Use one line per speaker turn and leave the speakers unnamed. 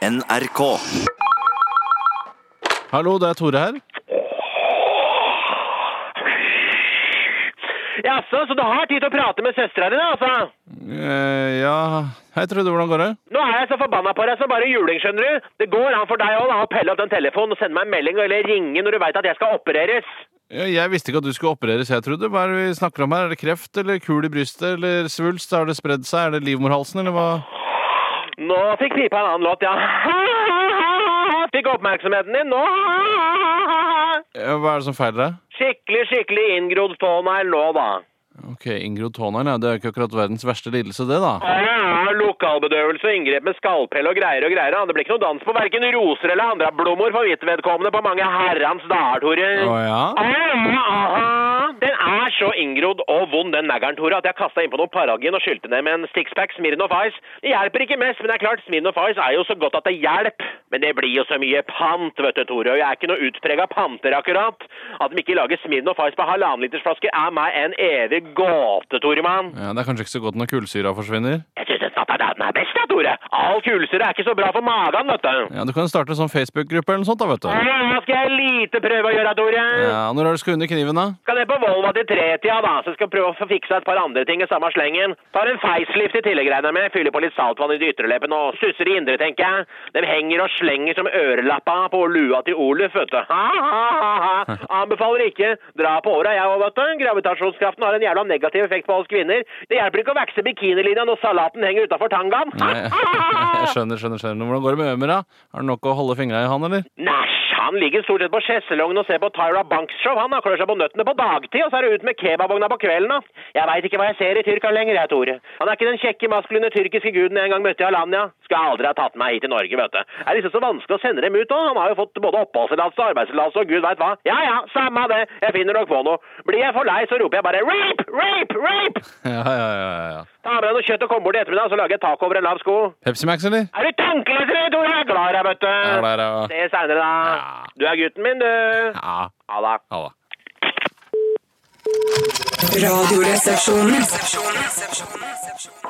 NRK.
Hallo, det er Tore her.
Jaså, så du har tid til å prate med søstera di, da, altså?
Eh, ja Hei, Trude. Hvordan går det?
Nå er jeg så forbanna på deg som bare juling, skjønner du. Det går an for deg òg, da, å pelle opp den telefonen og sende meg en melding eller ringe når du veit at jeg skal opereres.
Ja, Jeg visste ikke at du skulle opereres, jeg, Trude. Hva er det vi snakker om her? Er det kreft eller kul i brystet eller svulst? Har det spredd seg? Er det livmorhalsen, eller hva?
Nå fikk pipa en annen låt, ja. Fikk oppmerksomheten din nå.
Ja, hva er det som feiler deg?
Skikkelig, skikkelig inngrodd tånegl nå, da.
Ok, inngrodd tånegl, ja. Det er jo ikke akkurat verdens verste lidelse, det, da.
Ja, Lokalbedøvelse og inngrep med skallpell og greier og greier. da. Det blir ikke noe dans på verken roser eller andre blommer for mitt vedkommende på mange herrens dager, Tore.
Å ja?
Ah, Den er så inngrodd og vond, den neggeren, Tore, at jeg kasta innpå noe paragin og skylte ned med en sixpack Smirnoff Ice. Det hjelper ikke mest, men det er klart, Smirnoff Ice er jo så godt at det hjelper. Men det blir jo så mye pant, vet du, Tore, og jeg er ikke noe utprega panter, akkurat. At de ikke lager Smirnoff Ice på halvannenlitersflasker, er meg en evig gåte, Toremann.
ja? Det er kanskje ikke så godt når kullsyra forsvinner?
Jeg syns den den er best, da, Tore. All kulesyre er ikke så bra for magen, vet du.
Ja, Du kan starte en sånn Facebook-gruppe eller noe sånt, da, vet du.
Hva skal jeg lite prøve å gjøre, Tore?
Ja, Når er det du skal under kniven, da?
Skal ned på Volva til tretida, da, så skal jeg prøve å få fiksa et par andre ting i samme slengen. Tar en facelift i tillegg, regner jeg med, fyller på litt saltvann i de ytre leppene og susser i indre, tenker jeg. De henger og slenger som ørelappa på lua til Oluf, vet du. Ha, ha, ha, ha. Anbefaler ikke. Dra på åra, jeg òg, vet du. Gravitasjonskraften har en jævla negativ effekt på oss kvinner. Det hjelper ikke å vekse bikinilinja når salaten henger utafor tangaen.
Nei, jeg skjønner, skjønner, skjønner. Hvordan går det med Ømer, da? Er det nok å holde fingra i han, eller?
Næsj, han ligger stort sett på skjesselongen og ser på Tyra Banks show. Han har klør seg på nøttene på dagtid, og så er det ut med kebabvogna på kvelden. da. Jeg veit ikke hva jeg ser i Tyrkia lenger, jeg, Tore. Han er ikke den kjekke, maskuline tyrkiske guden jeg en gang møtte i Alanya. Skal aldri ha tatt meg hit til Norge, vet du. Det er liksom så vanskelig å sende dem ut òg. Han har jo fått både oppholdstillatelse og arbeidstillatelse og gud veit hva. Ja ja, samme det, jeg finner nok på noe. Blir jeg for lei, så roper jeg bare rape, rape, rape!
Ja, ja, ja, ja, ja.
Ta med deg noe kjøtt og kom bort i ettermiddag, så lager jeg taco over en lav sko.
Pepsi Max, eller?
Er du tankeløs, eller, Tore? Jeg er glad i deg, vet du.
Ja, det er det. ja.
Se seinere, da.
Ja.
Du er gutten min, du.
Ja,
Ha det.
ha det.
Radioresepsjonen.